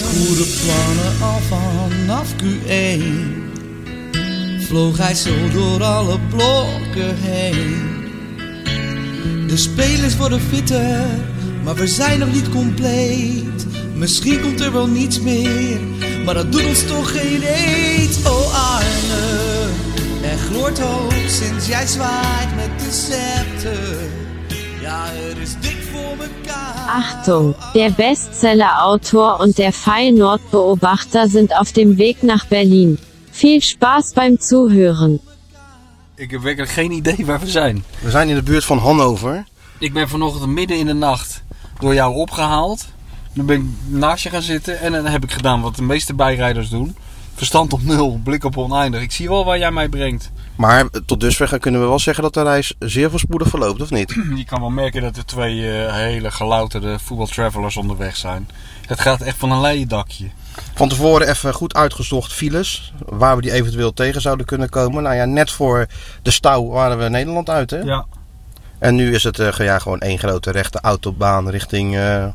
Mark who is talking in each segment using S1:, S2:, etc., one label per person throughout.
S1: goede plannen al vanaf Q1 Vloog hij zo door alle blokken heen De spelers worden fitter, maar we zijn nog niet compleet Misschien komt er wel niets meer, maar dat doet ons toch geen eet Oh Arne, er gloort hoop sinds jij zwaait met de scepter Ja, er is dik voor mekaar
S2: Ah, Achtung, der Bestseller-Autor und der Feyenoord-Beobachter sind auf dem Weg nach Berlin. Viel Spaß beim Zuhören.
S3: Ik heb werkelijk geen idee waar we zijn.
S4: We zijn in de buurt van Hannover.
S3: Ik ben vanochtend midden in de nacht door jou opgehaald. Dan ben ik naast je gaan zitten en dan heb ik gedaan wat de meeste bijrijders doen. Verstand op nul, blik op oneindig. Ik zie wel waar jij mij brengt.
S4: Maar eh, tot dusver kunnen we wel zeggen dat de reis zeer voorspoedig verloopt, of niet?
S3: Je kan wel merken dat er twee eh, hele gelouterde voetbaltravelers onderweg zijn. Het gaat echt van een leien dakje.
S4: Van tevoren even goed uitgezocht files, waar we die eventueel tegen zouden kunnen komen. Nou ja, net voor de stouw waren we Nederland uit, hè?
S3: Ja.
S4: En nu is het eh, ge- ja, gewoon één grote rechte autobaan richting, eh,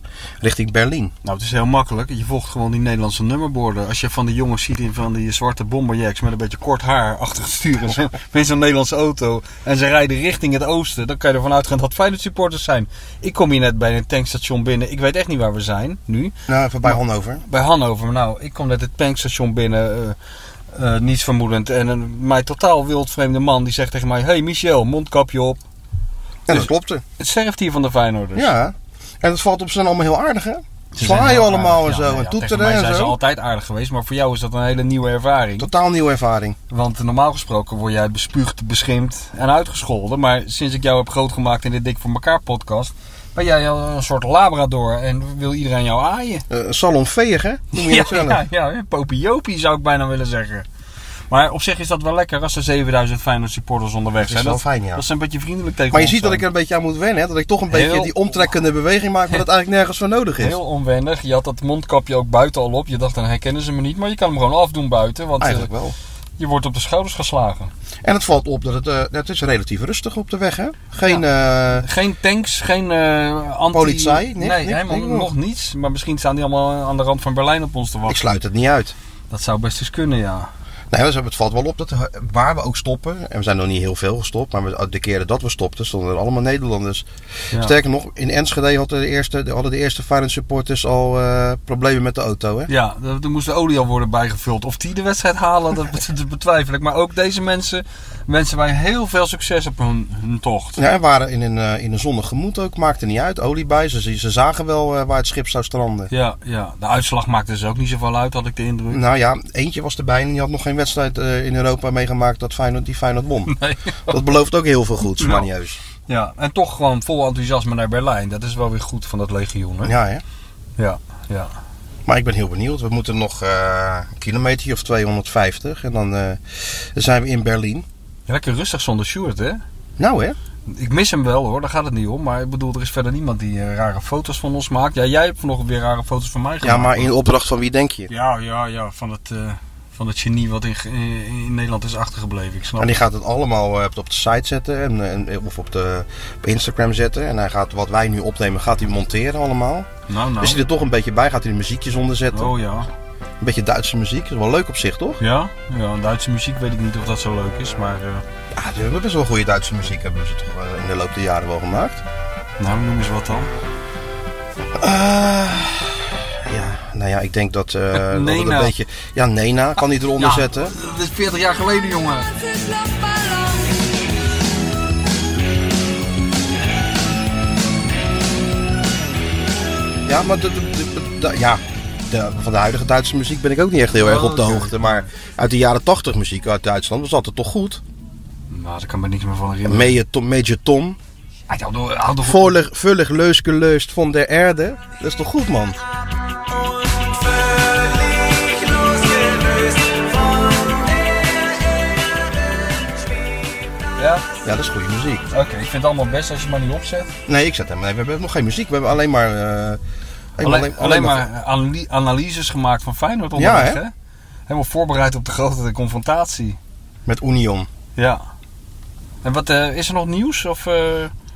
S4: richting Berlijn.
S3: Nou, het is heel makkelijk. Je volgt gewoon die Nederlandse nummerborden. Als je van die jongens ziet in van die zwarte bomberjacks met een beetje kort haar achter het stuur en zo, met zo'n Nederlandse auto en ze rijden richting het oosten, dan kan je ervan uitgaan dat Feyenoord supporters zijn. Ik kom hier net bij een tankstation binnen. Ik weet echt niet waar we zijn nu.
S4: Nou, even bij Hannover.
S3: Bij Hannover. Maar Nou, ik kom net het tankstation binnen. eh, eh, niets vermoedend. En een mij totaal wildvreemde man die zegt tegen mij: Hey Michel, mondkapje op.
S4: En dat klopte.
S3: Het sterft hier van de Feyenoorders.
S4: dus- Ja. En dat valt op zijn allemaal heel aardig, hè?
S3: Ze zijn heel
S4: Zwaaien allemaal en
S3: aardig. Ja, ja,
S4: zo, en
S3: ja. Tegen
S4: toeteren
S3: mij
S4: en
S3: zijn ze
S4: zo.
S3: altijd aardig geweest, maar voor jou is dat een hele nieuwe ervaring.
S4: Totaal nieuwe ervaring.
S3: Want normaal gesproken word jij bespuugd, beschimpt en uitgescholden. Maar sinds ik jou heb grootgemaakt in dit Dik voor elkaar podcast, ben jij al een soort labrador en wil iedereen jou aaien.
S4: Eh salonveeg, hè? Noem je dat zelf?
S3: ja, ja, ja, popiopie zou ik bijna willen zeggen. Maar op zich is dat wel lekker als er 7000 Feyenoord supporters onderweg
S4: is
S3: zijn.
S4: wel fijn, ja.
S3: dat is een beetje vriendelijk tegen
S4: Maar je
S3: ons
S4: ziet dat ik
S3: zijn.
S4: er een beetje aan moet wennen, hè? Dat ik toch een beetje
S3: Heel-
S4: die omtrekkende beweging maak, maar dat eigenlijk nergens voor nodig is.
S3: Heel onwendig. Je had dat mondkapje ook buiten al op. Je dacht, dan herkennen ze me niet. Maar je kan hem gewoon afdoen buiten, want eh,
S4: Eigenlijk wel.
S3: je wordt op de schouders geslagen.
S4: En het valt op dat het, eh, het is relatief rustig op de weg, hè? Geen, eh,
S3: Geen tanks, geen eh anti...
S4: Politie,
S3: Nee,
S4: niks, niks,
S3: helemaal
S4: niks.
S3: nog niets. Maar misschien staan die allemaal aan de rand van Berlijn op ons te
S4: ik
S3: wachten.
S4: sluit het niet uit.
S3: Dat zou best eens kunnen, ja.
S4: Nee, dus het valt wel op dat eh, waar we ook stoppen, en we zijn nog niet heel veel gestopt, maar we- eh, de keren dat we stopten, stonden er allemaal Nederlanders.
S3: Ja.
S4: Sterker nog, in Enschede hadden de eerste, hadden de eerste Feyenoord supporters al eh, problemen met de auto, hè?
S3: Ja, er er moest de olie al worden bijgevuld. Of die de wedstrijd halen, dat, bet- dat betwijfel ik. Maar ook deze mensen wensen wij heel veel succes op hun, hun tocht.
S4: Ja, en waren in een, eh, in een zonnig gemoed ook, maakte niet uit, olie bij, ze, ze zagen wel eh, waar het schip zou stranden.
S3: Ja, ja. De uitslag maakte dus ook niet zoveel uit, had ik de indruk.
S4: Nou ja, eentje was erbij en die had nog geen wedstrijd eh, in Europa meegemaakt dat Feyenoord, die Feyenoord won.
S3: Nee.
S4: Dat belooft ook heel veel goeds,
S3: Nou.
S4: manieus.
S3: Ja, en toch gewoon vol enthousiasme naar Berlijn. Dat is wel weer goed van dat legioen, hè?
S4: Ja, hè?
S3: ja. ja.
S4: Maar ik ben heel benieuwd. We moeten nog eh, een kilometer of 250 en dan eh, zijn we in Berlijn.
S3: Lekker rustig zonder Sjoerd, hè?
S4: Nou hè?
S3: Ik mis hem wel hoor, daar gaat het niet om. Maar ik bedoel, er is verder niemand die eh, rare foto's van ons maakt. Ja, jij hebt vanochtend weer rare foto's van mij
S4: Ja,
S3: gemaakt.
S4: maar in opdracht van wie denk je?
S3: Ja, ja, ja, van het, eh, van het genie wat in, Ge- in, in Nederland is achtergebleven. Ik snap
S4: En die gaat het allemaal eh, op de site zetten en, en- of op, de, op Instagram zetten. En hij gaat wat wij nu opnemen, gaat hij monteren allemaal.
S3: het. Nou, nou.
S4: Is hij er toch een beetje bij? Gaat hij de muziekjes onder zetten?
S3: Oh ja.
S4: Een beetje Duitse muziek. is wel leuk op zich, toch?
S3: Ja? Ja, Duitse muziek weet ik niet of dat zo leuk is, maar... eh,
S4: Ja, ze Ah, hebben best wel goede Duitse muziek hebben ze toch eh, in de loop der jaren wel gemaakt.
S3: nou, noem eens wat dan.
S4: Eh, ja, nou ja, ik denk dat, eh, dat het
S3: Nena.
S4: een beetje... Ja, Nena kan hij eronder zetten.
S3: Dat is 40 jaar geleden, jongen.
S4: Ja, maar de, de- de- de- ja, de- van de huidige Duitse muziek ben ik ook niet echt heel erg op de
S3: Oké.
S4: hoogte. Maar uit de jaren 80 muziek uit Duitsland was altijd toch goed.
S3: Nou, daar kan me niks meer van herinneren.
S4: Major Tom, Major Tom.
S3: Hij houdt door- houdt door-
S4: Vollig, vullig, leuske, leust van der Erde. Dat is toch goed, man?
S3: Ja?
S4: Ja, dat is goede muziek.
S3: Oké, ik vind het allemaal best als je maar niet opzet.
S4: Nee, ik zet hem. Nee, we hebben nog geen muziek. We hebben alleen maar... eh, alleen,
S3: Alleen, alleen, maar anali- analyses gemaakt van Feyenoord onderweg,
S4: Ja,
S3: hè? Helemaal voorbereid op de grote confrontatie.
S4: Met Union.
S3: Ja. En wat eh, is er nog nieuws? Of, eh,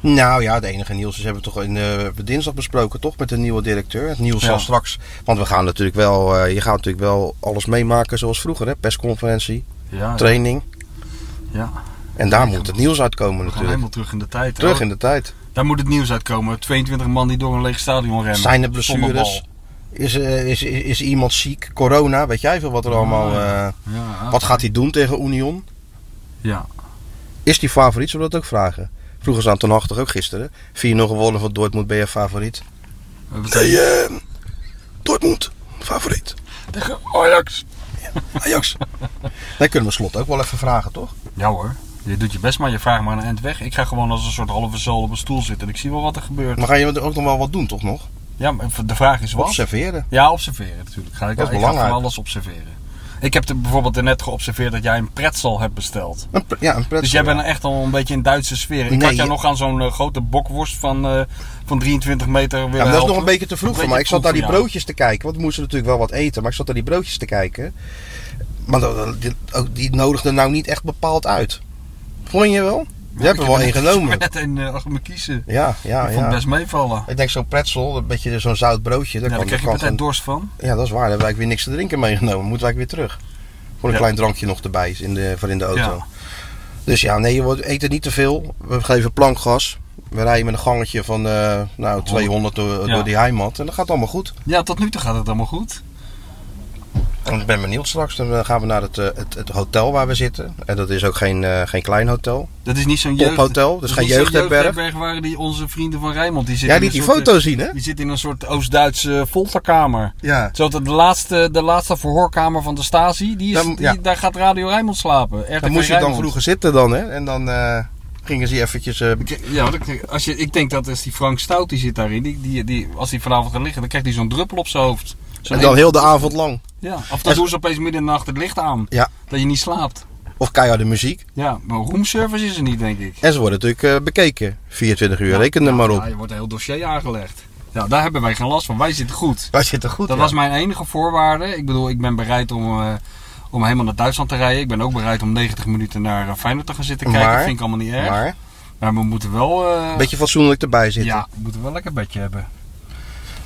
S4: Nou ja, het enige nieuws is hebben we toch in, eh, we hebben dinsdag besproken, toch? Met de nieuwe directeur. Het nieuws
S3: Ja.
S4: zal straks. Want we gaan natuurlijk wel, eh, je gaat natuurlijk wel alles meemaken zoals vroeger, hè? Persconferentie,
S3: Ja, ja.
S4: training.
S3: Ja.
S4: En daar moet het nieuws uitkomen
S3: We gaan
S4: natuurlijk.
S3: helemaal terug in de tijd.
S4: Terug in de tijd.
S3: Daar moet het nieuws uitkomen. 22 man die door een leeg stadion rennen.
S4: Zijn er
S3: Zonder
S4: blessures? Is, eh, is, is, is iemand ziek? Corona? Weet jij veel wat er allemaal. eh,
S3: bal. Ja,
S4: wat gaat hij doen tegen Union?
S3: Ja.
S4: Is die favoriet? Zullen we dat ook vragen? Vroeger ze aan Ten Hag toch ook gisteren. 4-0 gewonnen van Dortmund, ben je favoriet?
S3: we
S4: Nee,
S3: betekent-
S4: eh, Dortmund, favoriet.
S3: Tegen Ajax.
S4: Ajax. Daar kunnen we slot ook wel even vragen, toch?
S3: Ja hoor. Je doet je best, maar je vraagt maar een eind weg. Ik ga gewoon als een soort halve zool op een stoel zitten en ik zie wel wat er gebeurt.
S4: Maar ga je er ook nog wel wat doen, toch nog?
S3: Ja, maar de vraag is wat?
S4: Observeren.
S3: Ja, observeren natuurlijk. Ga ik,
S4: Dat is
S3: ik ga
S4: belangrijk.
S3: van alles observeren. Ik heb er bijvoorbeeld net geobserveerd dat jij een pretzel hebt besteld.
S4: Een pre- ja, een pretzel.
S3: Dus jij bent
S4: ja.
S3: echt al een beetje in Duitse sfeer. Ik
S4: Nee,
S3: had jou
S4: je-
S3: nog aan zo'n eh, grote bokworst van, eh, van 23 meter willen
S4: Ja, maar dat is nog
S3: helpen.
S4: een beetje te vroeg voor
S3: Een
S4: mij. Ik zat
S3: vroeg
S4: naar die
S3: voor jou.
S4: broodjes te kijken. Want we moesten natuurlijk wel wat eten. Maar ik zat naar die broodjes te kijken. Maar dat- dat- die, ook die nodigde nou niet echt bepaald uit. Vond je wel? Je hebt er wel één genomen.
S3: Ik heb net een eh, achter me kiezen.
S4: Ja, ja,
S3: Ik vond het
S4: ja.
S3: best meevallen.
S4: Ik denk zo'n pretzel, een beetje zo'n zout broodje. Daar
S3: Ja, daar
S4: kan,
S3: kreeg je
S4: kan
S3: meteen
S4: gewoon-
S3: dorst van.
S4: ja, dat is waar. Daar hebben wij weer niks te drinken meegenomen. Moeten wij weer terug. Voor een
S3: Ja.
S4: klein drankje nog erbij in de, voor in de auto.
S3: Ja.
S4: Dus ja, nee, je wordt- eet er niet te veel. We geven plankgas. We rijden met een gangetje van eh, nou, 200 door,
S3: Ja.
S4: door die heimat. En dat gaat allemaal goed.
S3: ja, tot nu toe gaat het allemaal goed.
S4: Ik ben benieuwd straks. Dan eh, gaan we naar het, eh, het, het hotel waar we zitten. En dat is ook geen, eh, geen klein hotel.
S3: Dat is niet zo'n jeugd...
S4: Tophotel. Dus geen
S3: niet zo'n
S4: jeugdherberg.
S3: waren die onze vrienden van Rijmond. Die zitten
S4: Jij
S3: in
S4: liet
S3: een
S4: die
S3: soort,
S4: foto zien, hè?
S3: eh, Die zitten in een soort Oost-Duitse folterkamer.
S4: Ja.
S3: Zo dat de laatste, de laatste verhoorkamer van de Stasi, die is,
S4: Dan-
S3: die-
S4: ja.
S3: daar gaat Radio Rijmond slapen. RTV
S4: Daar moest je dan
S3: Rijnmond.
S4: vroeger zitten dan, hè? En dan eh, gingen ze eventjes... eh,
S3: Ik- Ja, want ik- als je, ik denk dat als die Frank Stout die zit daarin, die, die, die, als die vanavond gaat liggen, dan krijgt hij zo'n druppel op zijn hoofd. Zo'n
S4: en dan
S3: een-
S4: heel de avond lang.
S3: ja. Of dan doen ze opeens midden in de nacht het licht aan.
S4: Ja.
S3: Dat je niet slaapt.
S4: Of keiharde muziek.
S3: Ja, maar roomservice is er niet, denk ik.
S4: En ze worden natuurlijk eh, bekeken. 24 uur,
S3: Ja.
S4: reken er maar op.
S3: Ja, je wordt een heel dossier aangelegd. Ja, daar hebben wij geen last van. Wij zitten goed.
S4: Wij zitten goed,
S3: Dat
S4: ja.
S3: was mijn enige voorwaarde. Ik bedoel, ik ben bereid om, eh, om helemaal naar Duitsland te rijden. Ik ben ook bereid om 90 minuten naar eh, Feyenoord te gaan zitten kijken.
S4: Maar-
S3: dat vind ik allemaal niet erg. Maar,
S4: Maar
S3: we moeten wel... eh,
S4: een beetje fatsoenlijk erbij zitten.
S3: ja, we moeten wel een lekker bedje hebben.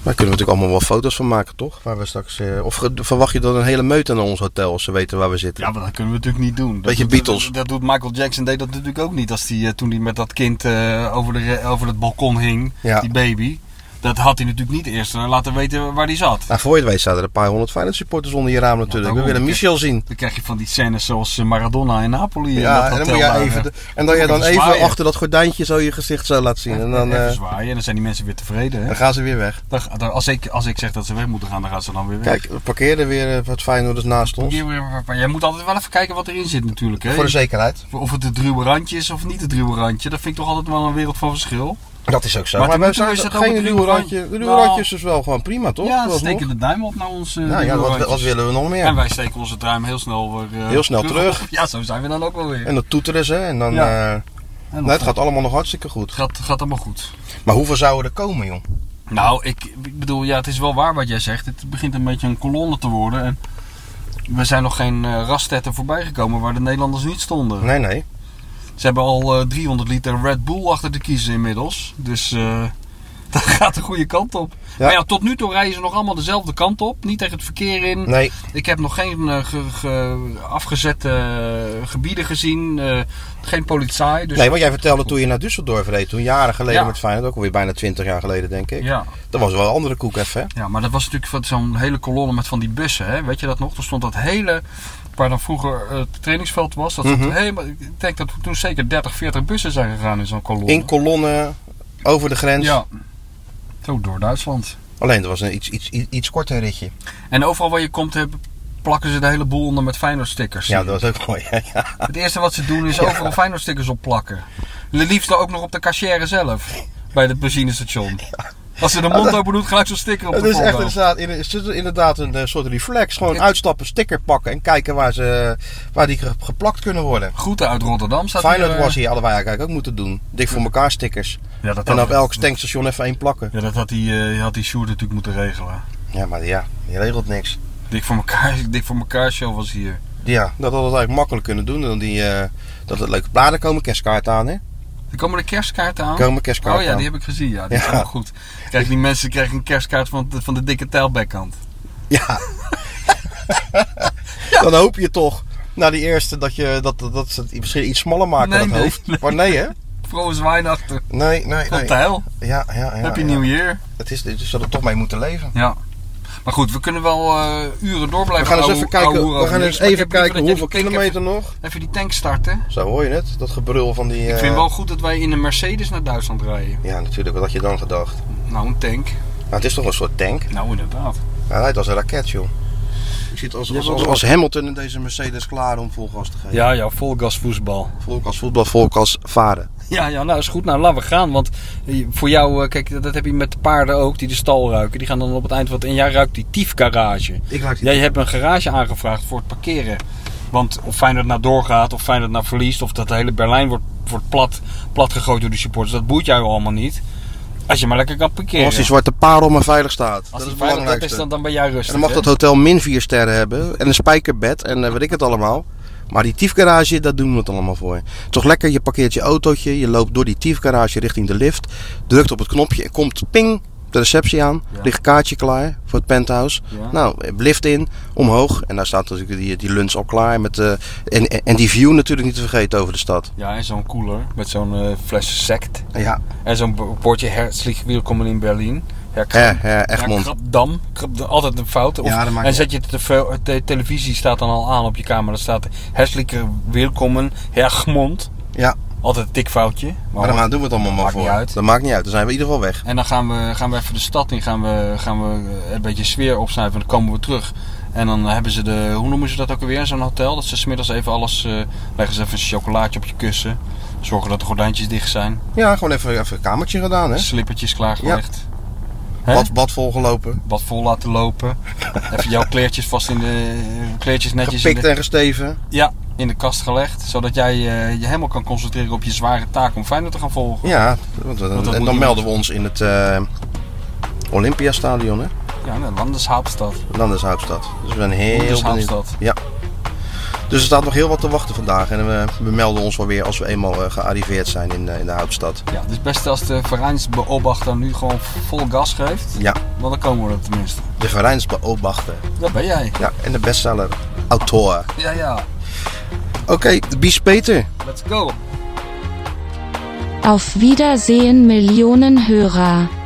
S4: Daar kunnen we natuurlijk allemaal wel foto's van maken, toch? Waar we straks, eh, of ge- verwacht je dan een hele meute naar ons hotel als ze weten waar we zitten?
S3: Ja, maar dat kunnen we natuurlijk niet doen. Dat
S4: Beetje
S3: doet-
S4: Beatles.
S3: Dat, doet Michael Jackson deed dat natuurlijk ook niet. Als die, eh, toen hij met dat kind eh, over, de, re- over het balkon hing,
S4: Ja.
S3: die baby. Dat had hij natuurlijk niet eerst eh, laten weten waar die zat.
S4: Nou, voor je het weet staan er een paar honderd Feyenoord supporters onder je raam natuurlijk. we
S3: daarom.
S4: willen Michel zien.
S3: Dan krijg je van die scènes zoals eh, Maradona in Napoli.
S4: Ja,
S3: eh, dat
S4: en
S3: hotel
S4: dan moet jij
S3: waren.
S4: even, de- en dan jij dan
S3: Even
S4: even
S3: zwaaien.
S4: achter dat gordijntje zo je gezicht zo laat zien. En dan,
S3: Even
S4: eh,
S3: zwaaien en dan zijn die mensen weer tevreden. Hè?
S4: dan gaan ze weer weg.
S3: Dan ga- dan- als, ik, als ik zeg dat ze weg moeten gaan, dan gaan ze dan weer weg.
S4: Kijk, we parkeerden weer eh, wat Feyenoorders naast ons.
S3: Hier weer- maar Jij moet altijd wel even kijken wat erin zit natuurlijk. Hè?
S4: Voor de zekerheid.
S3: Of het het ruwe randje is of niet het ruwe randje. Dat vind ik toch altijd wel een wereld van verschil.
S4: Dat is ook zo.
S3: Maar
S4: Maar,
S3: tot nu
S4: we
S3: toe
S4: zijn
S3: is dat ook
S4: geen
S3: het
S4: ruwe
S3: ruwe
S4: randje. De
S3: randje.
S4: ruwe
S3: Nou.
S4: randjes is wel gewoon prima, toch?
S3: ja, ze
S4: Vooralsnog.
S3: steken de duim op naar ons. eh,
S4: nou, ja,
S3: ruwe
S4: wat, wat
S3: randjes.
S4: willen we nog meer?
S3: En wij steken onze duim heel snel weer eh,
S4: Heel snel terug.
S3: op. Ja, zo zijn we dan ook wel weer.
S4: En dat toeteren ze. En dan,
S3: Ja.
S4: eh,
S3: En
S4: nou, het
S3: dat-
S4: gaat allemaal nog hartstikke goed.
S3: gaat, gaat allemaal goed.
S4: Maar hoeveel zouden er komen, joh?
S3: Nou, ik, ik bedoel, ja, het is wel waar wat jij zegt. Het begint een beetje een kolonne te worden. En we zijn nog geen eh, rastetten voorbijgekomen waar de Nederlanders niet stonden.
S4: Nee, nee.
S3: Ze hebben al eh, 300 liter Red Bull achter te kiezen inmiddels. Dus eh, dat gaat de goede kant op.
S4: Ja.
S3: Maar ja, tot nu toe rijden ze nog allemaal dezelfde kant op. Niet tegen het verkeer in.
S4: Nee.
S3: Ik heb nog geen eh, ge- ge- afgezette eh, gebieden gezien. eh, geen politie. Dus
S4: Nee, want jij vertelde toen je naar Düsseldorf reed, toen jaren geleden
S3: Ja.
S4: met Feyenoord, ook alweer bijna 20 jaar geleden denk ik.
S3: ja.
S4: Dat was wel een andere koek even, hè?
S3: ja, maar dat was natuurlijk van zo'n hele kolonne met van die bussen. Hè? Weet je dat nog? Toen stond dat hele, waar dan vroeger eh, het trainingsveld was. Dat stond
S4: Mhm.
S3: helemaal, ik denk dat toen zeker 30, 40 bussen zijn gegaan in zo'n kolonne.
S4: In kolonnen, over de grens.
S3: ja, zo door Duitsland.
S4: Alleen dat was een iets, iets, iets, iets korter ritje.
S3: En overal waar je komt, heb- plakken ze de hele boel onder met Feyenoord stickers.
S4: Ja, dat was ook mooi. hè? Ja.
S3: Het eerste wat ze doen is overal Feyenoord stickers opplakken. Het liefst dan ook nog op de cashière zelf. Bij het benzinestation. Als ze de mond open doet, gelijk zo'n sticker op
S4: Het
S3: de
S4: is echt
S3: voorhoofd.
S4: inderdaad, in- het is inderdaad een eh, soort reflex. Gewoon uitstappen, sticker pakken en kijken waar, ze, waar die ge- geplakt kunnen worden.
S3: Groeten uit Rotterdam staat
S4: Feyenoord
S3: hier, eh,
S4: was hier, hadden wij eigenlijk ook moeten doen. Dik voor elkaar stickers.
S3: Ja, dat
S4: En
S3: had,
S4: op elk tankstation even één plakken.
S3: ja, dat had die, eh, had die Sjoerd natuurlijk moeten regelen.
S4: Ja, maar ja, je regelt niks.
S3: Dik voor elkaar, dik voor elkaar show was hier.
S4: Ja, dat hadden we eigenlijk makkelijk kunnen doen. Dan die, eh, dat er leuke platen komen, kerstkaart aan hè.
S3: Er komen er kerstkaarten aan.
S4: Er komen kerstkaarten
S3: Oh ja, die
S4: aan.
S3: heb ik gezien. Ja, die
S4: Ja.
S3: zijn wel goed. Krijg die mensen krijgen een kerstkaart van de, van de dikke tijlbekkant.
S4: Ja. Dan hoop je toch na die eerste dat, je, dat, dat, dat ze het misschien iets smaller maken
S3: Nee,
S4: dat
S3: nee,
S4: hoofd.
S3: nee.
S4: Maar nee hè?
S3: Vroos Weihnachten.
S4: Nee, nee,
S3: Van
S4: nee.
S3: tijl.
S4: Ja, ja, ja.
S3: Happy
S4: ja.
S3: New Year.
S4: Het is, dus zullen we toch mee moeten leven.
S3: Ja. Maar goed, we kunnen wel eh, uren door
S4: We
S3: blijven
S4: gaan eens
S3: ouwe-
S4: even kijken,
S3: ouwehoeren
S4: we
S3: over
S4: gaan
S3: niks,
S4: eens
S3: maar ik
S4: even
S3: heb liever dat
S4: kijken
S3: jij
S4: hoeveel
S3: die tank
S4: kilometer nog.
S3: Even, even die tank starten.
S4: Zo hoor je het, dat gebrul van die...
S3: Ik
S4: eh,
S3: vind wel goed dat wij in een Mercedes naar Duitsland rijden.
S4: Ja, natuurlijk, wat had je dan gedacht?
S3: Nou, een tank.
S4: Maar het is toch een soort tank?
S3: Nou, inderdaad.
S4: Hij rijdt als een raket, joh. Ik zit als, als, als, als Hamilton in deze Mercedes klaar om vol gas te geven.
S3: Ja, ja, volgas voetbal.
S4: Volk als voetbal, volk als varen.
S3: Ja, ja, nou is goed. Nou, laten we gaan. Want eh, voor jou, eh, kijk, dat- dat heb je met de paarden ook, die de stal ruiken. Die gaan dan op het eind van het... En jij ruikt die tiefgarage.
S4: Ik raak
S3: Jij hebt een garage aangevraagd voor het parkeren. Want of Feyenoord nou doorgaat, of Feyenoord nou verliest... of dat de hele Berlijn wordt, wordt plat, plat gegooid door de supporters... dat boeit jou allemaal niet. Als je maar lekker kan parkeren.
S4: Als die zwarte parel maar veilig staat. dat is
S3: die
S4: het
S3: veilig
S4: belangrijkste.
S3: is, dan, dan ben jij
S4: En
S3: rustig.
S4: dan mag
S3: hè?
S4: dat hotel min 4 sterren hebben. En een spijkerbed en eh, weet ik het allemaal. Maar die tiefgarage, daar doen we het allemaal voor. Toch lekker, je parkeert je autootje. Je loopt door die tiefgarage richting de lift. Drukt op het knopje en komt ping de receptie aan.
S3: Ja.
S4: Ligt kaartje klaar voor het penthouse.
S3: Ja.
S4: Nou, eh, lift in, omhoog. En daar staat natuurlijk die, die lunch al klaar. Met, eh, en, en, en die view natuurlijk niet te vergeten over de stad.
S3: Ja, en zo'n cooler met zo'n eh, fles sect.
S4: Ja,
S3: En zo'n bo- bordje herzlich willkommen in Berlin. Ja,
S4: hè,
S3: krap,
S4: hè,
S3: ja,
S4: Egmond.
S3: krapdam. Krapdam, altijd een fout. Of,
S4: Ja, dat maakt
S3: en
S4: niet
S3: zet je de, tv- de televisie staat dan al aan op je kamer. Dan staat herzlich willkommen Egmond.
S4: Ja.
S3: Altijd een tikfoutje. Maar,
S4: Maar daar doen we het allemaal maar
S3: maakt
S4: voor.
S3: niet uit.
S4: Dat maakt niet uit, dan zijn we in ieder geval weg.
S3: En dan gaan we, gaan we even de stad in, gaan we, gaan we eh, een beetje sfeer opsnuiven en dan komen we terug. En dan hebben ze de, hoe noemen ze dat ook alweer, zo'n hotel? Dat ze smiddags even alles, eh, leggen ze even een chocolaatje op je kussen. Zorgen dat de gordijntjes dicht zijn.
S4: Ja, gewoon even, even een kamertje gedaan, hè?
S3: Slippertjes klaargelegd. Hè?
S4: Bad, bad volgelopen.
S3: Wat vol laten lopen. even jouw kleertjes vast in de, kleertjes netjes in
S4: Gepikt
S3: de,
S4: en gesteven.
S3: ja, in de kast gelegd. Zodat jij eh, je helemaal kan concentreren op je zware taak om Feyenoord te gaan volgen.
S4: Ja, want dan-
S3: dat
S4: en
S3: moet
S4: dan
S3: je
S4: melden we ons in het eh, Olympiastadion, hè?
S3: Ja, nou, de landeshauptstad.
S4: Landeshauptstad. Dus we zijn heel benieuwd.
S3: Landeshauptstad.
S4: Ja. Dus er staat nog heel wat te wachten vandaag. En we, we melden ons wel weer als we eenmaal eh, gearriveerd zijn in, eh, in de houtstad.
S3: Ja, dus best als de Vereinsbeobachter nu gewoon vol gas geeft.
S4: Ja,
S3: Want dan komen we er tenminste.
S4: de Vereinsbeobachter.
S3: Dat ben jij.
S4: Ja, en de bestseller. Autor.
S3: Ja, ja.
S4: Oké, Bies Peter.
S3: Let's go.
S2: Auf Wiedersehen Millionen Hörer.